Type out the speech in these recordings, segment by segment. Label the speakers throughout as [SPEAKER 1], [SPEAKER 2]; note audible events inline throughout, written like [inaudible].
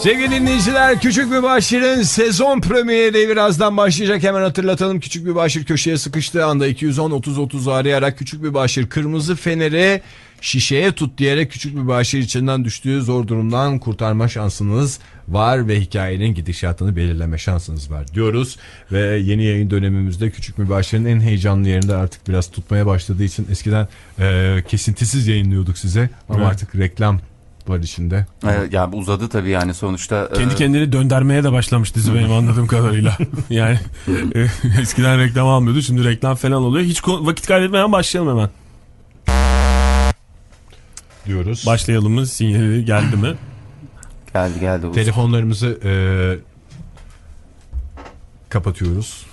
[SPEAKER 1] Sevgili dinleyiciler Küçük Mübaşir'in sezon premieri birazdan başlayacak. Hemen hatırlatalım Küçük Mübaşir köşeye sıkıştığı anda 210-30-30 arayarak Küçük Mübaşir kırmızı feneri şişeye tut diyerek Küçük Mübaşir içinden düştüğü zor durumdan kurtarma şansınız var ve hikayenin gidişatını belirleme şansınız var diyoruz. Ve yeni yayın dönemimizde Küçük Mübaşir'in en heyecanlı yerinde artık biraz tutmaya başladığı için eskiden e, kesintisiz yayınlıyorduk size ama
[SPEAKER 2] Evet.
[SPEAKER 1] artık reklam var içinde.
[SPEAKER 3] Ee, ya bu uzadı tabii yani sonuçta. e,
[SPEAKER 2] Kendi kendini döndermeye de başlamış dizi benim anladığım kadarıyla. Yani e, eskiden reklam almıyordu şimdi reklam falan oluyor. Hiç ko- vakit kaybetmeden başlayalım hemen.
[SPEAKER 1] diyoruz.
[SPEAKER 2] Başlayalım mı? Sinyali geldi mi?
[SPEAKER 3] Geldi geldi. bu.
[SPEAKER 1] Telefonlarımızı
[SPEAKER 2] e,
[SPEAKER 1] eee, kapatıyoruz.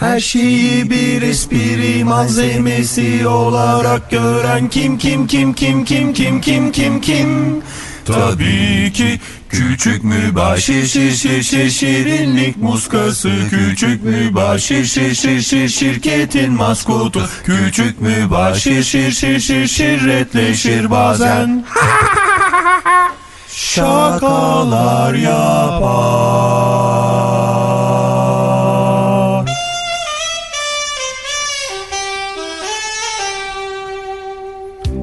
[SPEAKER 2] Her şeyi bir espri malzemesi olarak gören kim kim kim kim kim kim kim kim kim Tabii ki küçük mübaşir şir şir şir şirinlik muskası Küçük mübaşir şir şir şir şirketin maskotu Küçük mübaşir şir şir şir şirretleşir bazen [laughs] Şakalar yapar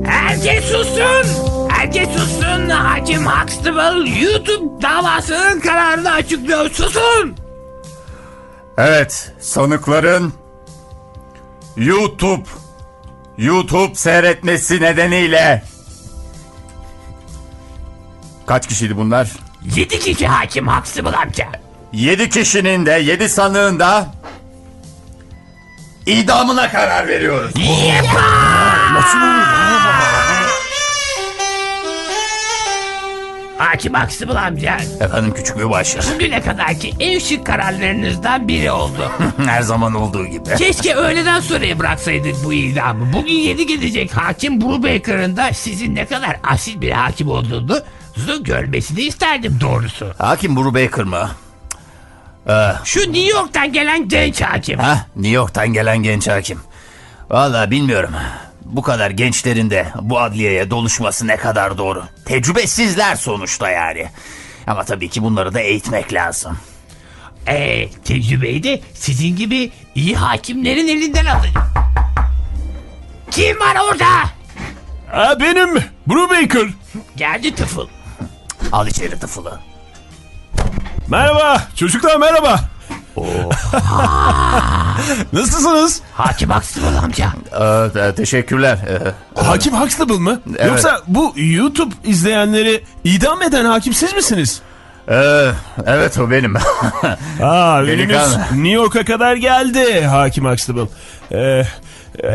[SPEAKER 4] Herkes sussun! Herkes sussun! Hacim Huxtable YouTube davasının kararını açıklıyor. Susun!
[SPEAKER 3] Evet sanıkların YouTube YouTube seyretmesi nedeniyle kaç kişiydi bunlar?
[SPEAKER 4] 7 kişi Hakim Huxtable amca.
[SPEAKER 3] 7 kişinin de 7 sanığın da idamına karar veriyoruz.
[SPEAKER 4] Hakim Huxtable amca
[SPEAKER 3] Efendim küçük mübaşir.
[SPEAKER 4] bugüne kadarki en şık kararlarınızdan biri oldu. [laughs]
[SPEAKER 3] Her zaman olduğu gibi.
[SPEAKER 4] Keşke öğleden sonraya bıraksaydık bu idamı. Bugün yedi gidecek hakim Brubaker'ın da sizin ne kadar asil bir hakim olduğunu görmesini isterdim doğrusu.
[SPEAKER 3] Hakim Brubaker mı?
[SPEAKER 4] Şu New York'tan gelen genç hakim.
[SPEAKER 3] Ha, New York'tan gelen genç hakim. Valla bilmiyorum. Bu kadar gençlerin de bu adliyeye doluşması ne kadar doğru. Tecrübesizler sonuçta yani. Ama tabii ki bunları da eğitmek lazım.
[SPEAKER 4] Ee, tecrübeyi de sizin gibi iyi hakimlerin elinden alın. Kim var orada?
[SPEAKER 2] Ha benim Brubaker.
[SPEAKER 4] Geldi tıfıl.
[SPEAKER 3] Al içeri tıfılı.
[SPEAKER 2] Merhaba çocuklar merhaba. [laughs] Nasılsınız?
[SPEAKER 4] Hakim Aksıbal amca.
[SPEAKER 3] Ee, teşekkürler. Ee,
[SPEAKER 2] Hakim Huxtable mı? Yoksa bu YouTube izleyenleri idam eden hakim siz misiniz?
[SPEAKER 3] e, evet o benim. [laughs]
[SPEAKER 2] Aa ününüz
[SPEAKER 3] Delikanlı.
[SPEAKER 2] New York'a kadar geldi Hakim Huxtable. Ee, e,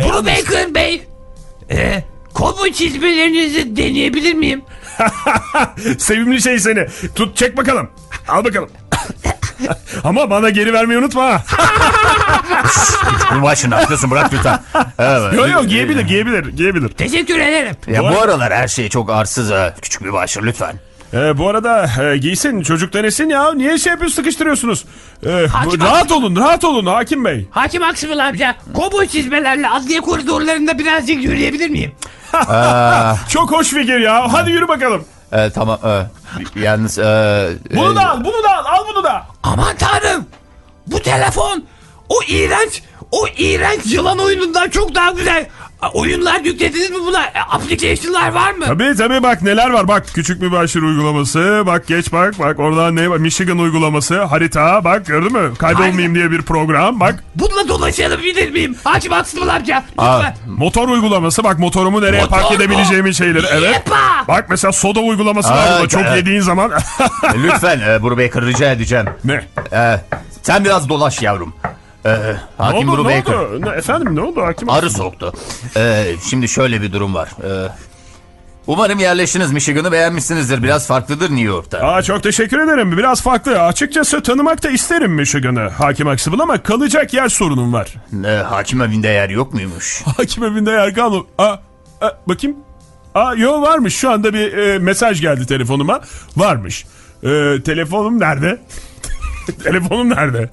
[SPEAKER 4] Bunu Bacon Bey. Ee, kobu çizmelerinizi deneyebilir miyim?
[SPEAKER 2] sevimli şey seni. Tut çek bakalım. Al [laughs] bakalım. Ama bana geri vermeyi unutma. ha.
[SPEAKER 3] bu başını atlıyorsun bırak lütfen. Evet.
[SPEAKER 2] Yok yok giyebilir giyebilir giyebilir.
[SPEAKER 4] Teşekkür ederim.
[SPEAKER 3] Ya bu aralar her şey çok arsız ha. Küçük bir
[SPEAKER 2] [laughs]
[SPEAKER 3] başır lütfen.
[SPEAKER 2] Ee, bu arada e, giysin çocuk denesin ya. Niye şey yapıyorsun sıkıştırıyorsunuz? Ee, bu-
[SPEAKER 4] Hakim-
[SPEAKER 2] rahat olun rahat olun Hakim Bey.
[SPEAKER 4] Hakim Aksıbal amca, kobu çizmelerle adliye koridorlarında birazcık yürüyebilir miyim?
[SPEAKER 3] Ee,
[SPEAKER 2] Çok hoş fikir ya. Hadi yürü bakalım.
[SPEAKER 3] e, tamam. yalnız... e,
[SPEAKER 2] Bunu da al, bunu da al, al bunu da.
[SPEAKER 4] Aman tanrım! Bu telefon o iğrenç o iğrenç yılan oyunundan çok daha güzel. A, Oyunlar yüklediniz mi buna? E, Application'lar var mı?
[SPEAKER 2] Tabii tabii bak neler var. Bak küçük mübaşir uygulaması. Bak geç bak bak oradan ne var? Michigan uygulaması, harita. Bak gördün mü? Kaybolmayayım diye bir program. Bak
[SPEAKER 4] Bununla dolaşabilir miyim? Hakim Aksıbal amca lütfen.
[SPEAKER 2] motor uygulaması. Bak motorumu nereye
[SPEAKER 4] Motor
[SPEAKER 2] park
[SPEAKER 4] mu?
[SPEAKER 2] edebileceğimi şeyleri. Evet.
[SPEAKER 4] Yepa!
[SPEAKER 2] Bak mesela soda uygulaması var
[SPEAKER 3] Aa,
[SPEAKER 2] burada. Çok
[SPEAKER 3] evet.
[SPEAKER 2] yediğin zaman.
[SPEAKER 3] lütfen [laughs] e, Brubaker rica edeceğim.
[SPEAKER 2] ne?
[SPEAKER 3] Ee, sen biraz dolaş yavrum. Ee,
[SPEAKER 2] Ne
[SPEAKER 3] Hakim
[SPEAKER 2] oldu, ne
[SPEAKER 3] Brubaker
[SPEAKER 2] oldu? Ne- Efendim ne oldu hakim?
[SPEAKER 3] arı soktu. Ee, şimdi şöyle bir durum var. Ee, umarım yerleştiniz Michigan'ı beğenmişsinizdir. Biraz farklıdır New York'ta.
[SPEAKER 2] Aa, çok teşekkür ederim. Biraz farklı. Açıkçası tanımak da isterim Michigan'ı. Hakim Aksıbıl ama kalacak yer sorunum var.
[SPEAKER 3] Ee, hakim evinde yer yok muymuş?
[SPEAKER 2] Hakim evinde yer kalmamış. Aa, aa, bakayım. Aa, yo varmış. Şu anda bir e, mesaj geldi telefonuma. Varmış. E, [laughs] telefonum nerede? [laughs] telefonum nerede?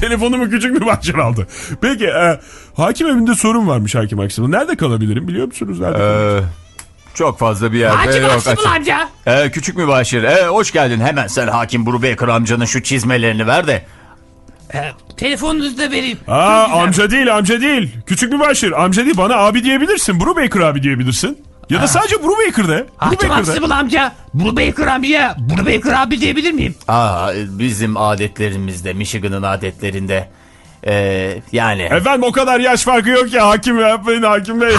[SPEAKER 2] Telefonumu küçük bir bahçen aldı. Peki e, hakim evinde sorun varmış hakim aksımı. Nerede kalabilirim biliyor musunuz? Nerede kalabilirim?
[SPEAKER 5] Ee, çok fazla bir yerde
[SPEAKER 4] Hakim
[SPEAKER 5] yok.
[SPEAKER 4] Aksımıl
[SPEAKER 5] açık.
[SPEAKER 4] amca.
[SPEAKER 3] Ee, küçük mübaşir. Ee, hoş geldin. Hemen sen Hakim Brubaker amcanın şu çizmelerini ver de.
[SPEAKER 4] Ee, telefonunuzu da vereyim.
[SPEAKER 2] Aa,
[SPEAKER 4] Çok güzel.
[SPEAKER 2] amca değil amca değil. Küçük bir başır. Amca değil bana abi diyebilirsin. Brubaker abi diyebilirsin. Ya da sadece Brubaker de.
[SPEAKER 4] Hakim
[SPEAKER 2] Brubaker de.
[SPEAKER 4] Aksımıl amca. Brubaker amca. Brubaker abi diyebilir miyim?
[SPEAKER 3] Aa, Ah, bizim adetlerimizde, Michigan'ın adetlerinde. Ee, yani
[SPEAKER 2] Efendim o kadar yaş farkı yok ya hakim bey yapmayın hakim bey.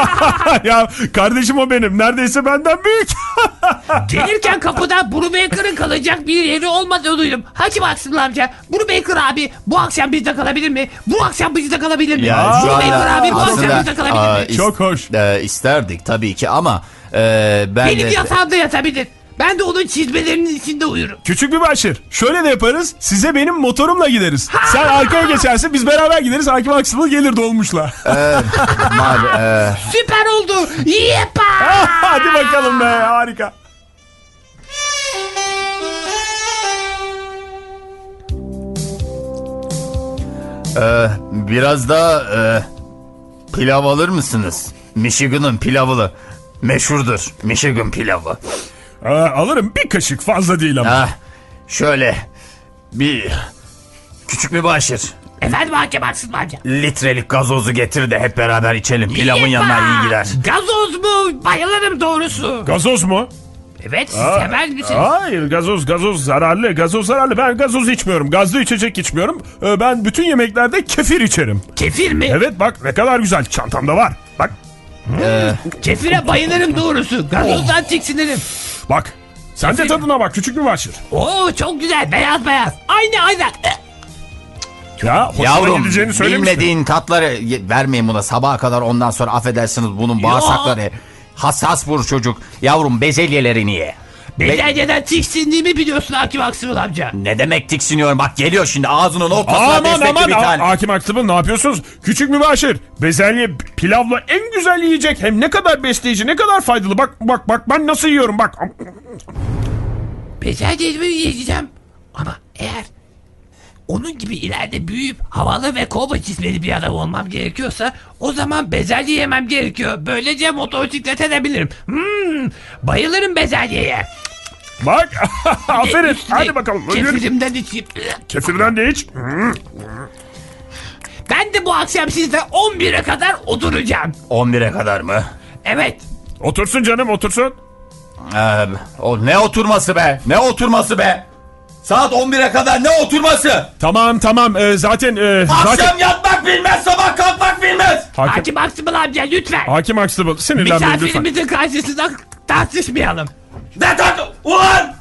[SPEAKER 2] [laughs] ya kardeşim o benim. Neredeyse benden büyük.
[SPEAKER 4] Gelirken kapıda Brubaker'ın kalacak bir yeri olmadığını duydum. Hakim Aksımıl amca. Brubaker abi bu akşam bizde kalabilir mi? Bu akşam bizde kalabilir mi?
[SPEAKER 3] Ya şu anda
[SPEAKER 4] Brubaker abi bu
[SPEAKER 3] aslında-
[SPEAKER 4] akşam bizde kalabilir
[SPEAKER 3] Aa,
[SPEAKER 4] mi?
[SPEAKER 3] is-
[SPEAKER 2] Çok hoş.
[SPEAKER 3] e, isterdik tabii ki ama e, ben
[SPEAKER 4] Benim
[SPEAKER 3] de...
[SPEAKER 4] yatağımda yatabilir. Ben de onun çizmelerinin içinde uyurum.
[SPEAKER 2] Küçük bir başır. Şöyle de yaparız. Size benim motorumla gideriz. Sen arkaya geçersin biz beraber gideriz. Hakim Aksımıl gelir dolmuşla. [laughs]
[SPEAKER 3] Mar- e,
[SPEAKER 4] Süper oldu. Yepa!
[SPEAKER 2] Hadi bakalım be harika.
[SPEAKER 3] e, biraz daha e, pilav alır mısınız? Michigan'ın pilavı meşhurdur. Michigan pilavı.
[SPEAKER 2] Ee, alırım bir kaşık fazla değil ama.
[SPEAKER 3] Ha, şöyle bir küçük bir başır.
[SPEAKER 4] Efendim hakem Aksımıl amca.
[SPEAKER 3] Litrelik gazozu getir de hep beraber içelim. Pilavın yanına iyi gider.
[SPEAKER 4] Gazoz mu? Bayılırım doğrusu.
[SPEAKER 2] Gazoz mu?
[SPEAKER 4] Evet siz sever misiniz?
[SPEAKER 2] Hayır gazoz gazoz zararlı gazoz zararlı ben gazoz içmiyorum gazlı içecek içmiyorum Ee, ben bütün yemeklerde kefir içerim
[SPEAKER 4] Kefir mi?
[SPEAKER 2] Evet bak ne kadar güzel çantamda var bak
[SPEAKER 4] Kefire bayılırım doğrusu. Gazozdan tiksinirim.
[SPEAKER 2] bak sen de tadına bak küçük bir başır
[SPEAKER 4] Oo çok güzel beyaz beyaz. Aynı aynı. Eh,
[SPEAKER 2] Ya hoşuna
[SPEAKER 3] Yavrum
[SPEAKER 2] gideceğini söylemiştim
[SPEAKER 3] bilmediğin tatları ye- vermeyin buna sabaha kadar ondan sonra affedersiniz bunun bağırsakları hassas vur çocuk. Yavrum bezelyelerini ye. Be-
[SPEAKER 4] Bezelyeden tiksindiğimi biliyorsun Hakim Aksımıl amca.
[SPEAKER 3] ne demek tiksiniyorum bak geliyor şimdi ağzının ortasına
[SPEAKER 2] Aman
[SPEAKER 3] destekli
[SPEAKER 2] aman
[SPEAKER 3] bir
[SPEAKER 2] a-
[SPEAKER 3] tane.
[SPEAKER 2] Hakim Aksım'ın ne yapıyorsunuz? Küçük mübaşir. Bezelye p- pilavla en güzel yiyecek. Hem ne kadar besleyici ne kadar faydalı. Bak bak bak ben nasıl yiyorum bak.
[SPEAKER 4] Bezelyemi yiyeceğim. Ama eğer onun gibi ileride büyüyüp havalı ve kovboy cismeli bir adam olmam gerekiyorsa o zaman bezelye yemem gerekiyor. Böylece motosiklete de binerim. Hmm, bayılırım bezelyeye. E,
[SPEAKER 2] Bak [laughs] aferin.
[SPEAKER 4] Üstüne
[SPEAKER 2] Hadi bakalım. Yürü.
[SPEAKER 4] Kefirimden içeyim.
[SPEAKER 2] Kefirden de iç.
[SPEAKER 4] Ben de bu akşam sizde 11'e kadar oturacağım.
[SPEAKER 3] 11'e kadar mı?
[SPEAKER 4] Evet.
[SPEAKER 2] Otursun canım otursun.
[SPEAKER 3] Ee, o ne oturması be? Ne oturması be? Saat 11'e kadar ne oturması?
[SPEAKER 2] Tamam tamam Ee, zaten e, zaten
[SPEAKER 3] Akşam yatmak bilmez, sabah kalkmak bilmez.
[SPEAKER 2] hakim
[SPEAKER 4] Hakim Aksımıl amca lütfen.
[SPEAKER 2] hakim Huxtable, sinirlenmeyin lütfen.
[SPEAKER 4] Misafirimizin karşısında tartışmayalım.
[SPEAKER 3] Ne tak? Ulan!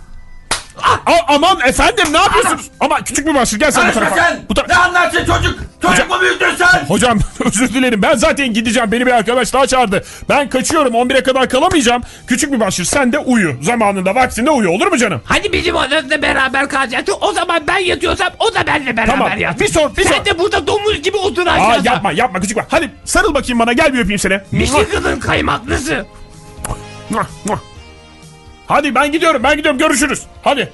[SPEAKER 2] A- aman efendim ne yapıyorsunuz? Ama küçük bir başlık gel sen bu
[SPEAKER 3] Karışma
[SPEAKER 2] tarafa.
[SPEAKER 3] sen!
[SPEAKER 2] Bu
[SPEAKER 3] Ne
[SPEAKER 2] tarafa.
[SPEAKER 3] anlarsın çocuk? Çocuk mu büyüttün sen?
[SPEAKER 2] Hocam [laughs] özür dilerim ben zaten gideceğim beni bir arkadaş daha çağırdı. Ben kaçıyorum 11'e kadar kalamayacağım. Küçük bir başlık sen de uyu. Zamanında vaktinde uyu olur mu canım?
[SPEAKER 4] Hani bizim odamızda beraber kalacaktı. O zaman ben yatıyorsam o da benimle beraber
[SPEAKER 2] Tamam,
[SPEAKER 4] yatsın.
[SPEAKER 2] bir sor, bir
[SPEAKER 4] Sen
[SPEAKER 2] sor.
[SPEAKER 4] de burada domuz gibi oturacaksın.
[SPEAKER 2] Aa yapma yapma küçük bak. Hadi sarıl bakayım bana gel bir öpeyim seni.
[SPEAKER 4] Michigan'ın şey kaymaklısı.
[SPEAKER 2] Muah, muah. Hadi ben gidiyorum ben gidiyorum görüşürüz. Hadi.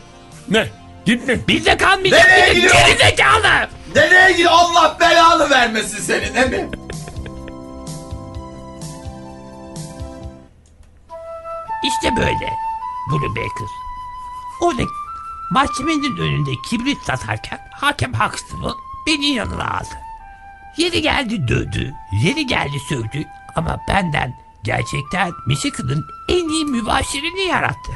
[SPEAKER 2] Ne? Gitme.
[SPEAKER 4] Bizde kalmayacak
[SPEAKER 5] Nereye
[SPEAKER 4] bir de
[SPEAKER 5] gidiyorsun?
[SPEAKER 4] gerizekalı.
[SPEAKER 5] Nereye gidiyor? Allah belanı vermesin seni değil mi?
[SPEAKER 4] İşte böyle. Bunu Baker. Orada mahkemenin önünde kibrit satarken hakem Huxtable beni yanına aldı. Yeri geldi dövdü, yeri geldi sövdü ama benden gerçekten Michigan'ın en iyi mübaşirini yarattı.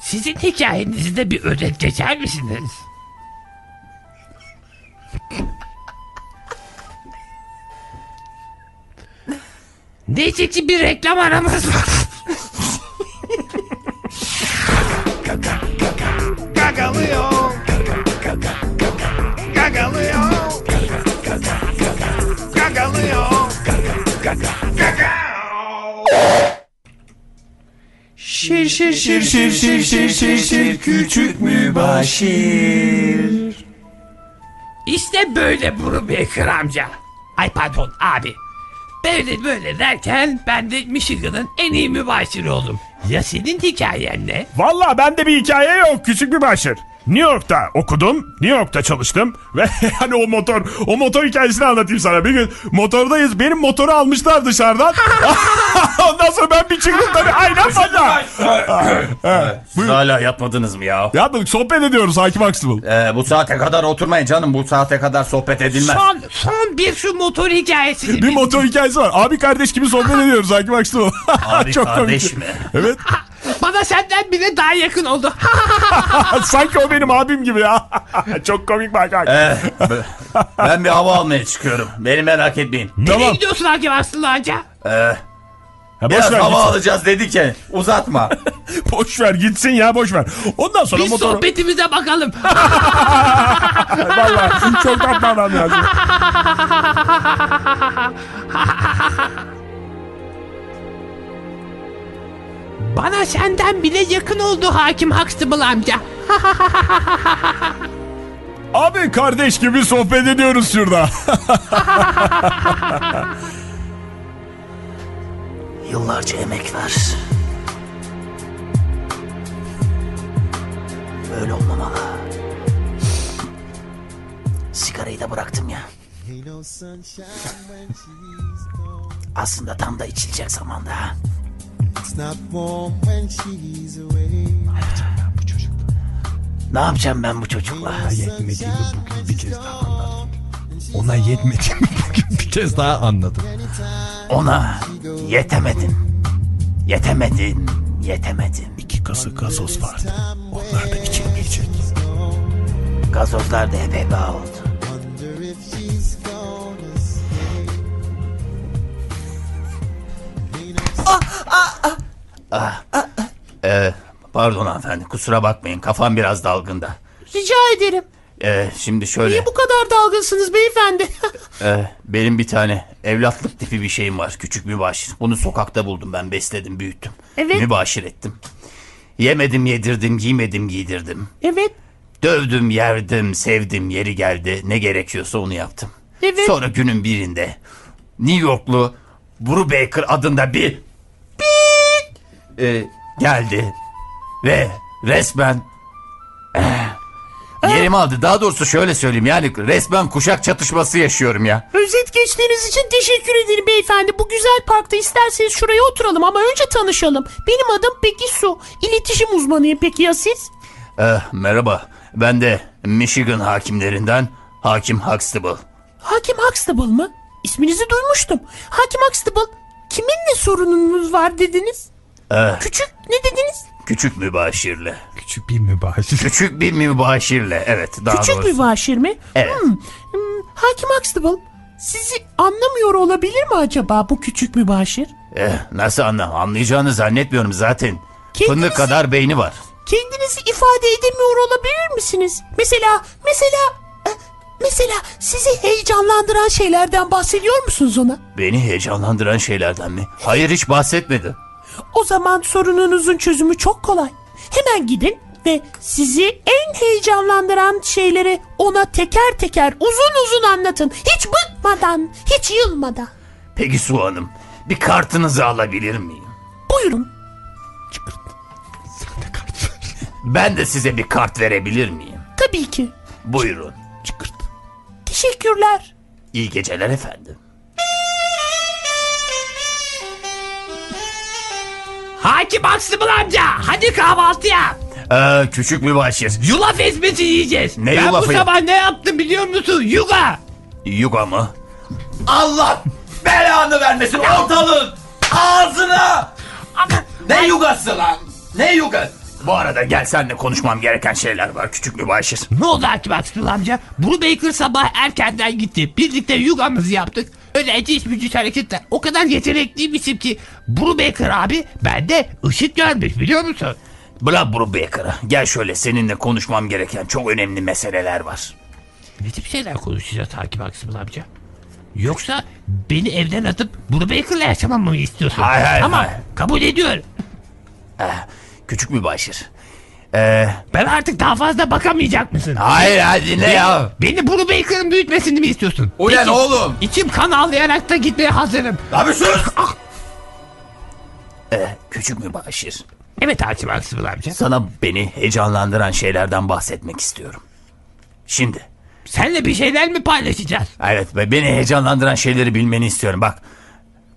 [SPEAKER 4] Sizin hikayenizde bir özet geçer misiniz? Neyse ki bir reklam aramız var.
[SPEAKER 2] Şir şir şir şir şir şir küçük mübaşir.
[SPEAKER 4] İşte böyle Brubaker amca. Ay pardon abi. Böyle böyle derken ben de Michigan'ın en iyi mübaşiri oldum. Ya senin hikayen ne?
[SPEAKER 2] Valla bende bir hikaye yok küçük bir başır.
[SPEAKER 6] New York'ta okudum, New York'ta çalıştım ve [laughs] hani o motor, o motor hikayesini anlatayım sana. Bir gün motordayız, benim motoru almışlar dışarıdan. Ondan sonra ben bir çıktım tabii aynen bana.
[SPEAKER 3] Siz hala yatmadınız mı ya?
[SPEAKER 6] Ya da sohbet ediyoruz Hakim Huxtable.
[SPEAKER 3] Ee, bu saate kadar oturmayın canım. Bu saate kadar sohbet edilmez.
[SPEAKER 4] Son, son bir şu motor hikayesini.
[SPEAKER 6] Bir motor hikayesi var. Abi kardeş gibi sohbet ediyoruz Hakim Huxtable. [laughs] Ah,
[SPEAKER 3] Abi kardeş mi?
[SPEAKER 6] komik. Evet. [laughs]
[SPEAKER 4] Bana senden bile daha yakın oldu. [laughs]
[SPEAKER 6] Sanki o benim abim gibi ya. [laughs] Çok komik bak Hakim.
[SPEAKER 1] Ee,
[SPEAKER 3] Eh, b- ben bir hava almaya çıkıyorum. Beni merak etmeyin.
[SPEAKER 4] Nereye
[SPEAKER 6] tamam.
[SPEAKER 4] gidiyorsun hakem aslında anca?
[SPEAKER 3] Eh,
[SPEAKER 6] Ya boş
[SPEAKER 3] biraz
[SPEAKER 6] ver,
[SPEAKER 3] hava
[SPEAKER 6] gitsin.
[SPEAKER 3] alacağız dedi ki uzatma.
[SPEAKER 6] boş ver gitsin ya boş ver. Ondan sonra
[SPEAKER 4] Biz
[SPEAKER 6] motoru...
[SPEAKER 4] sohbetimize bakalım.
[SPEAKER 6] [laughs] Vallahi çok tatlı adam ya.
[SPEAKER 4] [laughs] Bana senden bile yakın oldu hakim Huxtable amca.
[SPEAKER 6] Abi kardeş gibi sohbet ediyoruz şurada.
[SPEAKER 3] [laughs] Yıllarca emek ver. Böyle olmamalı. Sigarayı da bıraktım ya. Aslında tam da içilecek zamanda. ha. Ne yapacağım ben bu çocukla?
[SPEAKER 1] Yetmediğimi bugün bir kez daha anladım. Ona yetmediğimi bugün bir kez daha anladım.
[SPEAKER 3] Ona yetemedin. Yetemedin. Yetemedin.
[SPEAKER 6] [laughs] İki kasa gazoz vardı. Onlar da içilmeyecek.
[SPEAKER 3] Gazozlar da hep heba oldu. Ah, ah, ah. Ah. Ee, pardon hanımefendi kusura bakmayın kafam biraz dalgında.
[SPEAKER 4] Rica ederim.
[SPEAKER 3] Ee, şimdi şöyle
[SPEAKER 4] Bu kadar dalgınsınız beyefendi. [laughs]
[SPEAKER 3] e, benim bir tane evlatlık tipi bir şeyim var küçük mübaşir. Bunu sokakta buldum ben besledim büyüttüm.
[SPEAKER 4] Evet.
[SPEAKER 3] Mübaşir ettim. Yemedim yedirdim giymedim giydirdim.
[SPEAKER 4] evet.
[SPEAKER 3] Dövdüm, yerdim, sevdim, yeri geldi. Ne gerekiyorsa onu yaptım.
[SPEAKER 4] Evet.
[SPEAKER 3] Sonra günün birinde New Yorklu Brubaker adında bir bip, e, geldi ve resmen eh, yerimi aldı. Daha doğrusu şöyle söyleyeyim yani resmen kuşak çatışması yaşıyorum ya.
[SPEAKER 7] Özet geçtiğiniz için teşekkür ederim beyefendi. Bu güzel parkta isterseniz şuraya oturalım ama önce tanışalım. Benim adım Peki Su. İletişim uzmanıyım peki ya siz?
[SPEAKER 3] Eh, merhaba ben de Michigan hakimlerinden Hakim Huxtable.
[SPEAKER 7] Hakim Huxtable mı? İsminizi duymuştum. Hakim Huxtable kiminle sorununuz var dediniz?
[SPEAKER 3] Eh.
[SPEAKER 7] Küçük ne dediniz?
[SPEAKER 3] Küçük mübaşirle.
[SPEAKER 1] Küçük bir
[SPEAKER 6] [laughs]
[SPEAKER 1] mübaşir.
[SPEAKER 3] Küçük bir mübaşirle evet daha
[SPEAKER 7] Küçük
[SPEAKER 3] doğrusu. Eh.
[SPEAKER 7] mübaşir mi?
[SPEAKER 3] Evet.
[SPEAKER 7] Hmm, hmm, Hakim Huxtable sizi anlamıyor olabilir mi acaba bu küçük mübaşir?
[SPEAKER 3] Eh, nasıl anlam? Anlayacağını zannetmiyorum zaten.
[SPEAKER 7] Kendinizi-
[SPEAKER 3] Fındık kadar beyni var.
[SPEAKER 7] kendinizi ifade edemiyor olabilir misiniz? Mesela, mesela, e, mesela sizi heyecanlandıran şeylerden bahsediyor musunuz ona?
[SPEAKER 3] Beni heyecanlandıran şeylerden mi? Hayır hiç bahsetmedi.
[SPEAKER 7] O zaman sorununuzun çözümü çok kolay. Hemen gidin ve sizi en heyecanlandıran şeyleri ona teker teker uzun uzun anlatın. Hiç bıkmadan, hiç yılmadan.
[SPEAKER 3] Peki Su Hanım, bir kartınızı alabilir miyim?
[SPEAKER 7] Buyurun.
[SPEAKER 3] Ben de size bir kart verebilir miyim?
[SPEAKER 7] Tabii ki.
[SPEAKER 3] Buyurun.
[SPEAKER 7] Teşekkürler.
[SPEAKER 3] İyi geceler efendim.
[SPEAKER 4] Hakim Huxtable amca hadi kahvaltı yap.
[SPEAKER 3] Ee, küçük mübaşir.
[SPEAKER 4] Yulaf ezmesi yiyeceğiz.
[SPEAKER 3] Ne
[SPEAKER 4] ben
[SPEAKER 3] yulafı
[SPEAKER 4] bu
[SPEAKER 3] ya?
[SPEAKER 4] sabah ne yaptım biliyor musun? Yuga.
[SPEAKER 3] Yuga mı?
[SPEAKER 5] Allah belanı vermesin ortalığın ağzına. Ne yugası lan? Ne yugası?
[SPEAKER 3] Bu arada gel senle konuşmam gereken şeyler var küçük mübaşir.
[SPEAKER 4] Ne oldu Hakim Huxtable amca? Bunu Baker sabah erkenden gitti. Birlikte yuga'mızı yaptık. Öyle eciş bücüş hareketler. O kadar yetenekliymişim ki. Bunu Baker abi bende ışık görmüş biliyor musun?
[SPEAKER 3] Bla Brubaker'a gel şöyle seninle konuşmam gereken çok önemli meseleler var.
[SPEAKER 4] Ne tip şeyler konuşacağız Hakim Huxtable amca? Yoksa beni evden atıp bunu Baker'la yaşamamı mı istiyorsun?
[SPEAKER 3] Hayır, hayır,
[SPEAKER 4] Ama
[SPEAKER 3] hayır.
[SPEAKER 4] kabul ediyorum.
[SPEAKER 3] Küçük mübaşir. Ee,
[SPEAKER 4] Ben artık daha fazla bakamayacak mısın?
[SPEAKER 3] hayır hadi ne ya?
[SPEAKER 4] Beni bunu Baker'ın büyütmesini mi istiyorsun?
[SPEAKER 5] Ulan
[SPEAKER 4] Peki,
[SPEAKER 5] oğlum.
[SPEAKER 4] İçim kan ağlayarak da
[SPEAKER 3] Ah!
[SPEAKER 4] gitmeye hazırım.
[SPEAKER 5] Abi sus.
[SPEAKER 3] Ee, küçük Eh, mübaşir.
[SPEAKER 4] Evet hakim haksız amca.
[SPEAKER 3] Sana beni heyecanlandıran şeylerden bahsetmek istiyorum. Şimdi.
[SPEAKER 4] Senle bir şeyler mi paylaşacağız?
[SPEAKER 3] Evet ve beni heyecanlandıran şeyleri bilmeni istiyorum. Bak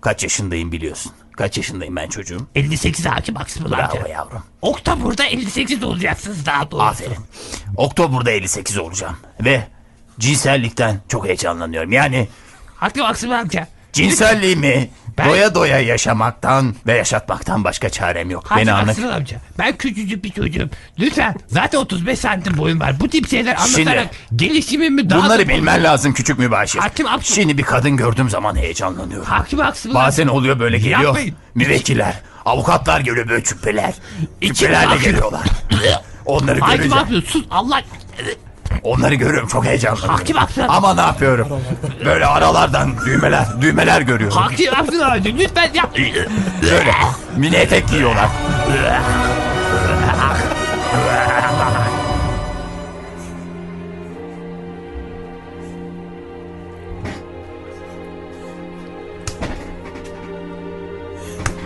[SPEAKER 3] kaç yaşındayım biliyorsun. Kaç yaşındayım ben çocuğum.
[SPEAKER 4] 58 hakim haksız amca.
[SPEAKER 3] Bravo yavrum.
[SPEAKER 4] Oktobur'da 58 olacaksınız daha doğrusu.
[SPEAKER 3] Aferin. Oktober'da 58 olacağım. Ve cinsellikten çok heyecanlanıyorum. Yani
[SPEAKER 4] Hakim haksız amca.
[SPEAKER 3] cinselliğimi
[SPEAKER 4] Ben-
[SPEAKER 3] doya doya yaşamaktan ve yaşatmaktan başka çarem yok.
[SPEAKER 4] Hakim
[SPEAKER 3] Beni anla.
[SPEAKER 4] haksız amca. Ben küçücük bir çocuğum. Lütfen zaten 35 santim boyum var. Bu tip şeyler
[SPEAKER 3] Şimdi-
[SPEAKER 4] anlatarak gelişimimi daha
[SPEAKER 3] Bunları
[SPEAKER 4] da-
[SPEAKER 3] bilmen lazım küçük mübaşir.
[SPEAKER 4] Hakim haksız.
[SPEAKER 3] Şimdi bir kadın gördüğüm zaman heyecanlanıyorum.
[SPEAKER 4] Hakim haksız
[SPEAKER 3] Bazen oluyor böyle geliyor.
[SPEAKER 4] Yapmayın.
[SPEAKER 3] Müvekkiler, avukatlar geliyor böyle küpeler. Küpelerle
[SPEAKER 4] hakim-
[SPEAKER 3] geliyorlar. Onları
[SPEAKER 4] Hakim
[SPEAKER 3] görüyorum.
[SPEAKER 4] haksız sus Allah.
[SPEAKER 3] Onları görüyorum çok heyecanlanıyorum.
[SPEAKER 4] Hakim haksız.
[SPEAKER 3] Ama ne yapıyorum? Böyle aralardan düğmeler, düğmeler görüyorum.
[SPEAKER 4] Hakim haksız amca lütfen yap.
[SPEAKER 3] Böyle mini etek giyiyorlar.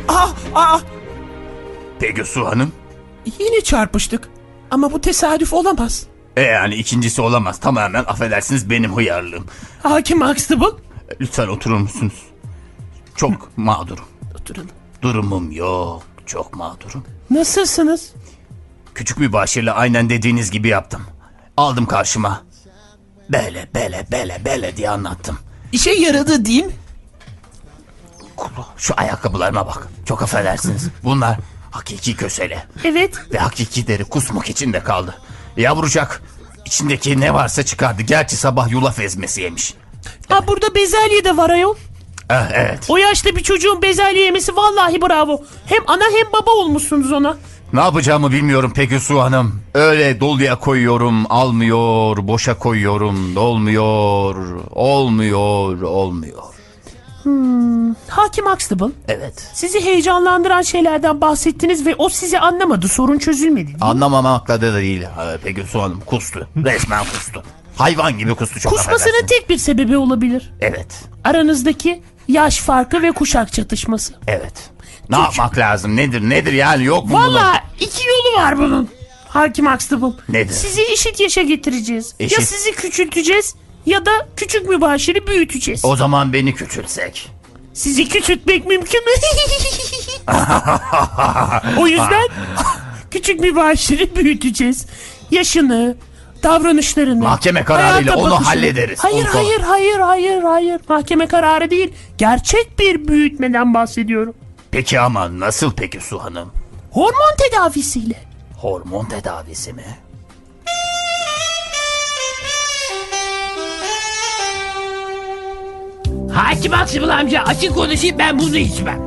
[SPEAKER 2] Aa, aa,
[SPEAKER 3] Pegasus Hanım.
[SPEAKER 2] yine çarpıştık. Ama bu tesadüf olamaz.
[SPEAKER 3] E yani ikincisi olamaz. Tamamen affedersiniz benim hıyarlığım.
[SPEAKER 2] Hakim Huxtable.
[SPEAKER 3] Lütfen oturur musunuz? Çok mağdurum.
[SPEAKER 2] Oturalım.
[SPEAKER 3] Durumum yok. Çok mağdurum.
[SPEAKER 2] Nasılsınız?
[SPEAKER 3] Küçük bir başarıyla aynen dediğiniz gibi yaptım. Aldım karşıma. Böyle böyle böyle böyle diye anlattım.
[SPEAKER 2] İşe yaradı değil mi?
[SPEAKER 3] Şu ayakkabılarıma bak. Çok affedersiniz. Bunlar hakiki kösele.
[SPEAKER 7] Evet.
[SPEAKER 3] Ve hakiki deri kusmuk içinde kaldı. Yavrucak içindeki ne varsa çıkardı. Gerçi sabah yulaf ezmesi yemiş.
[SPEAKER 7] Ha burada bezelye de var ayol.
[SPEAKER 3] Ah, evet.
[SPEAKER 7] O yaşta bir çocuğun bezelye yemesi vallahi bravo. Hem ana hem baba olmuşsunuz ona.
[SPEAKER 3] Ne yapacağımı bilmiyorum Pegasus Hanım. Öyle doluya koyuyorum almıyor. Boşa koyuyorum dolmuyor. Olmuyor olmuyor.
[SPEAKER 7] Hakim Huxtable
[SPEAKER 3] Evet.
[SPEAKER 7] sizi heyecanlandıran şeylerden bahsettiniz ve o sizi anlamadı sorun çözülmedi.
[SPEAKER 3] Anlamamakla da değil. Ha, Pegasus Hanım kustu. Resmen kustu. Hayvan gibi kustu çok
[SPEAKER 7] Kusmasının
[SPEAKER 3] affedersiniz.
[SPEAKER 7] tek bir sebebi olabilir.
[SPEAKER 3] Evet.
[SPEAKER 7] Aranızdaki yaş farkı ve kuşak çatışması.
[SPEAKER 3] Evet. Ne yapmak lazım? Nedir? Nedir yani? Yok mu bunun?
[SPEAKER 7] Vallahi iki yolu var bunun. Hakim Huxtable.
[SPEAKER 3] Nedir?
[SPEAKER 7] Sizi eşit yaşa getireceğiz.
[SPEAKER 3] Eşit.
[SPEAKER 7] Ya sizi küçülteceğiz ya da küçük mübaşiri büyüteceğiz.
[SPEAKER 3] O zaman beni küçülsek.
[SPEAKER 7] Sizi
[SPEAKER 3] [laughs]
[SPEAKER 7] küçültmek mümkün mü? o yüzden küçük mübaşiri büyüteceğiz. Yaşını, davranışlarını.
[SPEAKER 3] Mahkeme kararıyla
[SPEAKER 7] hayata
[SPEAKER 3] onu
[SPEAKER 7] bakışını-
[SPEAKER 3] hallederiz.
[SPEAKER 7] Hayır
[SPEAKER 3] Onu sonra-
[SPEAKER 7] hayır hayır hayır hayır. Mahkeme kararı değil. Gerçek bir büyütmeden bahsediyorum.
[SPEAKER 3] Peki ama nasıl peki Su Hanım?
[SPEAKER 7] Hormon tedavisiyle.
[SPEAKER 3] Hormon tedavisi mi?
[SPEAKER 4] Hakim haksız amca açık konuşayım ben bunu içmem.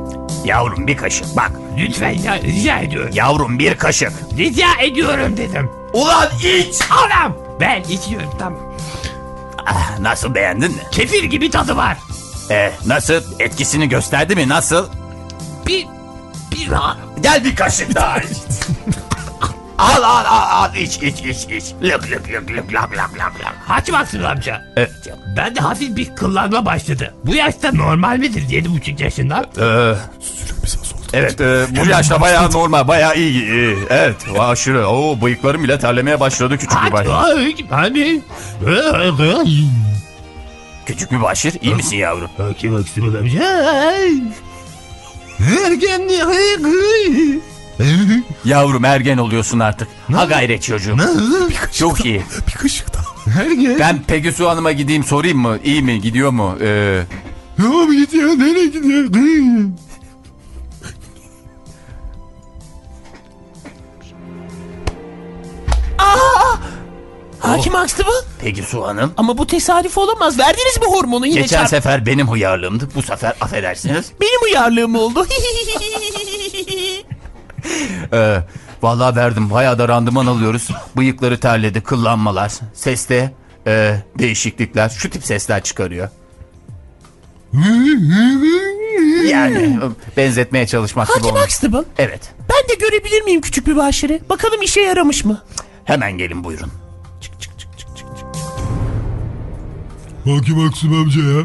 [SPEAKER 3] Yavrum bir kaşık bak.
[SPEAKER 4] Lütfen ya, rica ediyorum.
[SPEAKER 3] Yavrum bir kaşık.
[SPEAKER 4] Rica ediyorum dedim.
[SPEAKER 5] Ulan iç.
[SPEAKER 4] Anam ben içiyorum tamam.
[SPEAKER 3] Ah, Nasıl beğendin mi?
[SPEAKER 4] Kefir gibi tadı var.
[SPEAKER 3] Ee, nasıl? Etkisini gösterdi mi? Nasıl?
[SPEAKER 4] Bir bir daha.
[SPEAKER 3] Gel bir kaşık daha iç. al al al al iç iç iç iç. Lık lık lık lık lam lam lam lam.
[SPEAKER 4] Hakim haksız amca.
[SPEAKER 5] E-
[SPEAKER 3] Evet canım.
[SPEAKER 4] Ben de hafif bir kıllanma başladı. Bu yaşta normal midir 7,5 yaşında?
[SPEAKER 3] Ee, evet e, bu yaşta bayağı normal bayağı iyi. iyi. Evet aşırı. Oo bıyıklarım bile terlemeye başladı küçük bir başır.
[SPEAKER 4] Hakim hani
[SPEAKER 3] Küçük bir başır iyi misin yavrum?
[SPEAKER 4] Hakim haksız amca. Ergenliği
[SPEAKER 3] [laughs] Yavrum ergen oluyorsun artık. Ha gayret çocuğum. Çok iyi.
[SPEAKER 2] Bir kaşık daha.
[SPEAKER 4] Ergen.
[SPEAKER 3] Ben Pegasus Hanım'a gideyim sorayım mı? İyi mi? Gidiyor mu? Ee,
[SPEAKER 1] Tamam gidiyor nereye gidiyor?
[SPEAKER 2] Hakim Huxtable.
[SPEAKER 3] Pegasus Hanım.
[SPEAKER 2] Ama bu tesadüf olamaz. Verdiniz mi hormonu yine
[SPEAKER 3] Geçen
[SPEAKER 2] çarp-
[SPEAKER 3] sefer benim hıyarlığımdı. Bu sefer affedersiniz.
[SPEAKER 2] Benim uyarlığım oldu.
[SPEAKER 3] [laughs] Ee, vallahi verdim. Bayağı da randıman alıyoruz. Bıyıkları terledi. Kıllanmalar. Seste e, değişiklikler. Şu tip sesler çıkarıyor. Yani e, benzetmeye çalışmak gibi
[SPEAKER 7] Hakim
[SPEAKER 3] olmuş.
[SPEAKER 7] Huxtable.
[SPEAKER 3] Evet.
[SPEAKER 7] Ben de görebilir miyim küçük mübaşiri? Bakalım işe yaramış mı?
[SPEAKER 3] Hemen gelin buyurun.
[SPEAKER 1] Hakim Aksım amca ya.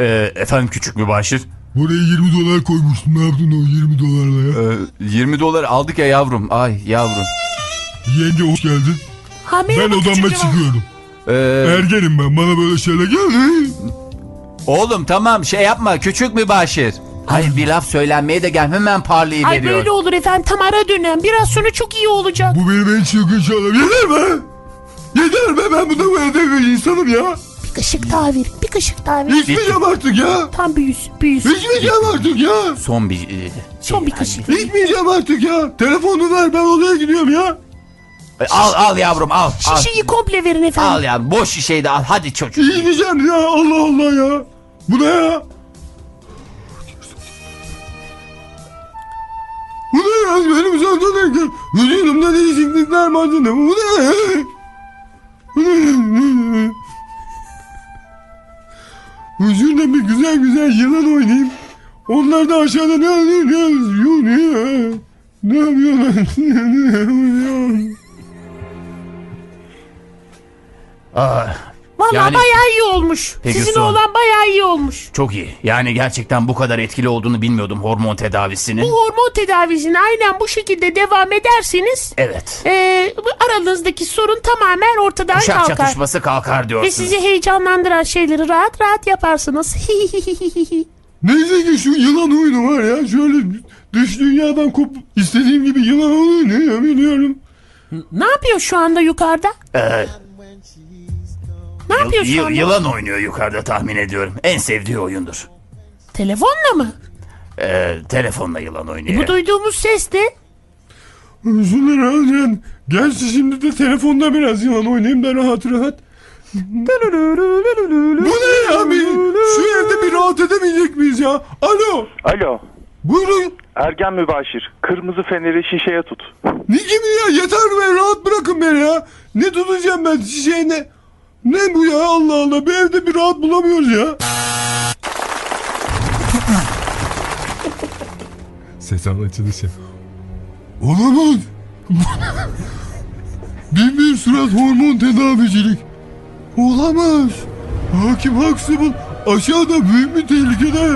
[SPEAKER 3] Ee, efendim E, küçük mübaşir.
[SPEAKER 8] Buraya 20 dolar koymuştun. Ne yaptın o 20 dolarla ya?
[SPEAKER 2] Ee, 20 dolar aldık ya yavrum. Ay yavrum.
[SPEAKER 8] Yenge hoş geldin.
[SPEAKER 7] Ha,
[SPEAKER 8] Ben
[SPEAKER 7] merhaba küçük
[SPEAKER 8] odama
[SPEAKER 7] bir-
[SPEAKER 8] çıkıyorum.
[SPEAKER 3] E,
[SPEAKER 2] Ee,
[SPEAKER 8] Ergenim ben. Bana böyle şeyler gel.
[SPEAKER 2] oğlum tamam şey yapma küçük mübaşir. Hayır bir laf söylenmeye de gel hemen parlayı
[SPEAKER 7] Ay
[SPEAKER 2] veriyor.
[SPEAKER 7] böyle olur efendim tam ara dönem. Biraz sonra çok iyi olacak.
[SPEAKER 8] Bu benim en çılgın şalam. Yeter be. Yeter be ben buna böyle de insanım ya.
[SPEAKER 7] Bir kaşık daha ver. Bir kaşık daha ver.
[SPEAKER 8] İçmeyeceğim artık ya.
[SPEAKER 7] Tam büyüsün büyüsün.
[SPEAKER 8] İçmeyeceğim artık ya.
[SPEAKER 2] Son bir e,
[SPEAKER 7] Son bir kaşık.
[SPEAKER 8] İçmeyeceğim artık ya. Telefonu ver ben odaya gidiyorum ya.
[SPEAKER 2] e, al al yavrum al al.
[SPEAKER 7] Şişeyi komple verin efendim.
[SPEAKER 2] Al yavrum boş şişeyi de al hadi çocuk.
[SPEAKER 8] İçmeyeceğim ya Allah Allah ya. Bu ne ya? Bu ne ya? Benim senden ne? Vücudumda değişiklikler madde. Bu ne ya? Bu ne? Huzurla bir güzel güzel yılan oynayayım. Onlar da aşağıda ne yapıyor? Ne yapıyor? Ne yapıyor? Ne yapıyorlar? Ne yapıyor?
[SPEAKER 3] Aa,
[SPEAKER 7] Vallahi
[SPEAKER 2] Yani-
[SPEAKER 7] bayağı iyi olmuş.
[SPEAKER 3] Peki,
[SPEAKER 7] Sizin
[SPEAKER 3] son.
[SPEAKER 7] oğlan bayağı iyi olmuş.
[SPEAKER 3] çok iyi. Yani gerçekten bu kadar etkili olduğunu bilmiyordum hormon tedavisinin.
[SPEAKER 7] Bu hormon tedavisine aynen bu şekilde devam ederseniz
[SPEAKER 3] Evet.
[SPEAKER 7] eee, bu aralarınızdaki sorun tamamen ortadan
[SPEAKER 3] Uşak
[SPEAKER 7] kalkar.
[SPEAKER 3] çatışması kalkar
[SPEAKER 7] Ve
[SPEAKER 3] diyorsunuz.
[SPEAKER 7] sizi heyecanlandıran şeyleri rahat rahat yaparsınız. [laughs]
[SPEAKER 8] Neyse ki şu yılan oyunu var ya. Şöyle dış dünyadan kopup istediğim gibi yılan oyunu ya biliyorum.
[SPEAKER 7] ne yapıyor şu anda yukarıda?
[SPEAKER 3] Ee,
[SPEAKER 7] Ne yapıyor
[SPEAKER 3] yı-
[SPEAKER 7] şu anda?
[SPEAKER 3] yılan oynuyor yukarıda tahmin ediyorum. En sevdiği oyundur.
[SPEAKER 7] Telefonla mı?
[SPEAKER 3] Ee, telefonla yılan oynuyor.
[SPEAKER 7] E, Bu duyduğumuz ses de
[SPEAKER 8] Üzülür Özcan. Gerçi şimdi de telefonda biraz yılan oynayayım da rahat rahat. Bu ne ya? Bir, şu evde bir rahat edemeyecek miyiz ya? Alo.
[SPEAKER 9] Alo.
[SPEAKER 8] Buyurun.
[SPEAKER 9] Ergen mübaşir. Kırmızı feneri şişeye tut.
[SPEAKER 8] Ne gibi ya? Yeter be rahat bırakın beni ya. Ne tutacağım ben şişeyi ne? Ne bu ya Allah Allah. Bir evde bir rahat bulamıyoruz ya. Sezon açılışı. Olamaz. bin bir surat hormon tedavicilik. Olamaz. Hakim Huxtable aşağıda büyük bir tehlikede.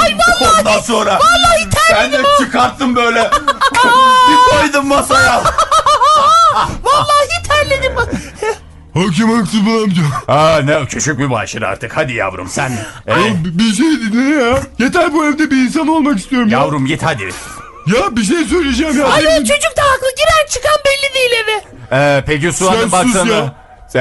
[SPEAKER 5] Ondan sonra. Vallahi Ben de çıkarttım
[SPEAKER 7] [laughs]
[SPEAKER 5] böyle. bir koydum masaya.
[SPEAKER 7] vallahi terledim bak.
[SPEAKER 8] Hakim Huxtable amca.
[SPEAKER 3] Aa, ne küçük mübaşir artık. Hadi yavrum sen. Ee,
[SPEAKER 8] Bir bir şey dinle ya. Yeter bu evde bir insan olmak istiyorum ya.
[SPEAKER 3] yavrum git hadi.
[SPEAKER 8] Ya bir şey söyleyeceğim ya.
[SPEAKER 7] Alo çocuk da haklı giren çıkan belli değil eve.
[SPEAKER 3] Ee, peki su
[SPEAKER 8] Sen
[SPEAKER 3] hanım
[SPEAKER 8] sus
[SPEAKER 3] baksana.
[SPEAKER 8] ya.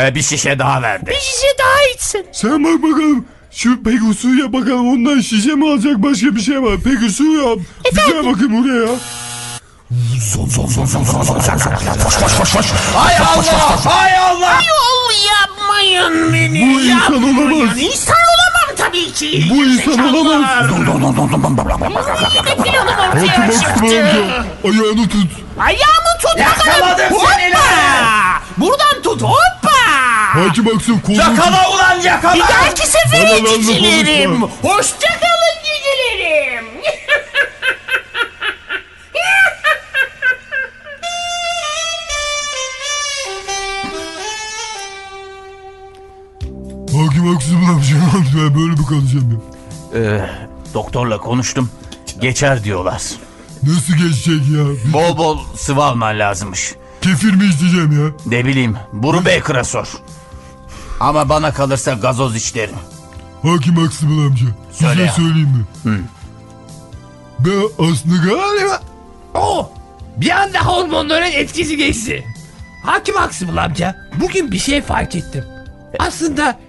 [SPEAKER 3] Ee, bir şişe daha verdi.
[SPEAKER 7] Bir şişe daha içsin.
[SPEAKER 8] Sen bak bakalım. Şu Pegasus'a bakalım ondan şişe mi alacak başka bir şey var. Pegasus ya. Bir gel bakayım buraya ya.
[SPEAKER 5] Hay Allah. Hay Allah.
[SPEAKER 7] Yol yapmayın beni.
[SPEAKER 8] Bu insan olamaz.
[SPEAKER 7] İnsan olamam tabii ki.
[SPEAKER 8] Bu insan olamaz. Hakim Aksıman amca. Ayağını tut.
[SPEAKER 7] Ayağımı tut bakalım.
[SPEAKER 5] Yakaladım seni lan.
[SPEAKER 7] Buradan tut hoppa.
[SPEAKER 8] Hakim Aksıman kolunu tut.
[SPEAKER 5] Yakala ulan yakala.
[SPEAKER 7] Bir dahaki sefere
[SPEAKER 8] Yalan lan,
[SPEAKER 7] cicilerim.
[SPEAKER 8] konuşma.
[SPEAKER 7] Hoşçakalın cicilerim.
[SPEAKER 8] Hakim Aksıman amca. Ben böyle mi kalacağım ya?
[SPEAKER 3] Ee, doktorla konuştum. Geçer diyorlar.
[SPEAKER 8] Nasıl geçecek ya? Bir
[SPEAKER 3] Bol bol sıvı alman lazımmış.
[SPEAKER 8] kefir mi içeceğim ya?
[SPEAKER 3] Ne bileyim, Buru Baker'a sor. Ama bana kalırsa gazoz içlerim.
[SPEAKER 8] Hakim Aksıman amca.
[SPEAKER 3] Söyle
[SPEAKER 8] Size
[SPEAKER 3] ya.
[SPEAKER 8] şey söyleyeyim mi? Ben aslında galiba
[SPEAKER 4] Oo, bir anda hormonların etkisi geçti. Hakim Aksımıl amca, bugün bir şey fark ettim. Aslında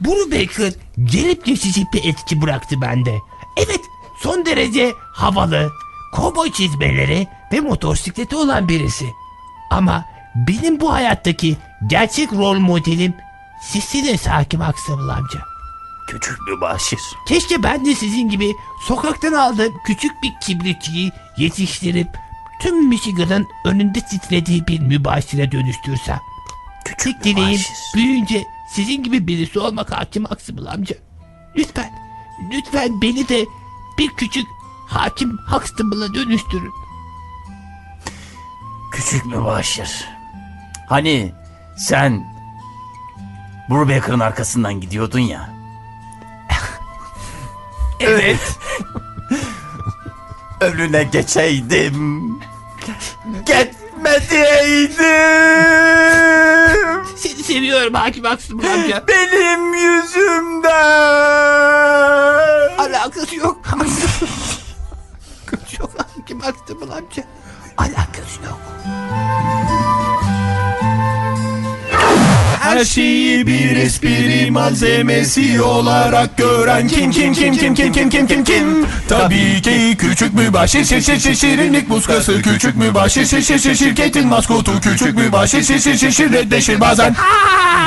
[SPEAKER 4] Buru Baker gelip geçici bir etki bıraktı bende. Evet, son derece havalı, kovboy çizmeleri ve motosikleti olan birisi. Ama benim bu hayattaki gerçek rol modelim sizsiniz Hakim Aksımıl amca.
[SPEAKER 3] Küçük mübaşir.
[SPEAKER 4] Keşke ben de sizin gibi sokaktan aldığım küçük bir kibritçiyi yetiştirip tüm Michigan'ın önünde titrediği bir mübaşire dönüştürsem. Küçük dileğim
[SPEAKER 3] mübaşir.
[SPEAKER 4] büyüyünce sizin gibi birisi olmak hakim Huxtable amca. Lütfen, lütfen beni de bir küçük hakim Huxtable'a dönüştürün.
[SPEAKER 3] Küçük mübaşir. Hani sen
[SPEAKER 10] Brubaker'ın arkasından gidiyordun ya.
[SPEAKER 3] Evet. Önüne geçeydim. Gitmediydim.
[SPEAKER 4] Seni seviyorum Hakim Haksız amca.
[SPEAKER 3] Benim yüzümden.
[SPEAKER 4] Alakası yok. Alakası yok Hakim Haksız amca. Alakası yok.
[SPEAKER 2] Her şeyi bir espri malzemesi olarak gören kim kim kim kim kim kim kim kim kim Tabii ki küçük mübaşir şir şir şir şirinlik muskası küçük mübaşir şir şir şir şirketin maskotu küçük mübaşir şir şir şir şir reddeşir bazen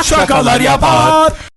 [SPEAKER 2] şakalar yapar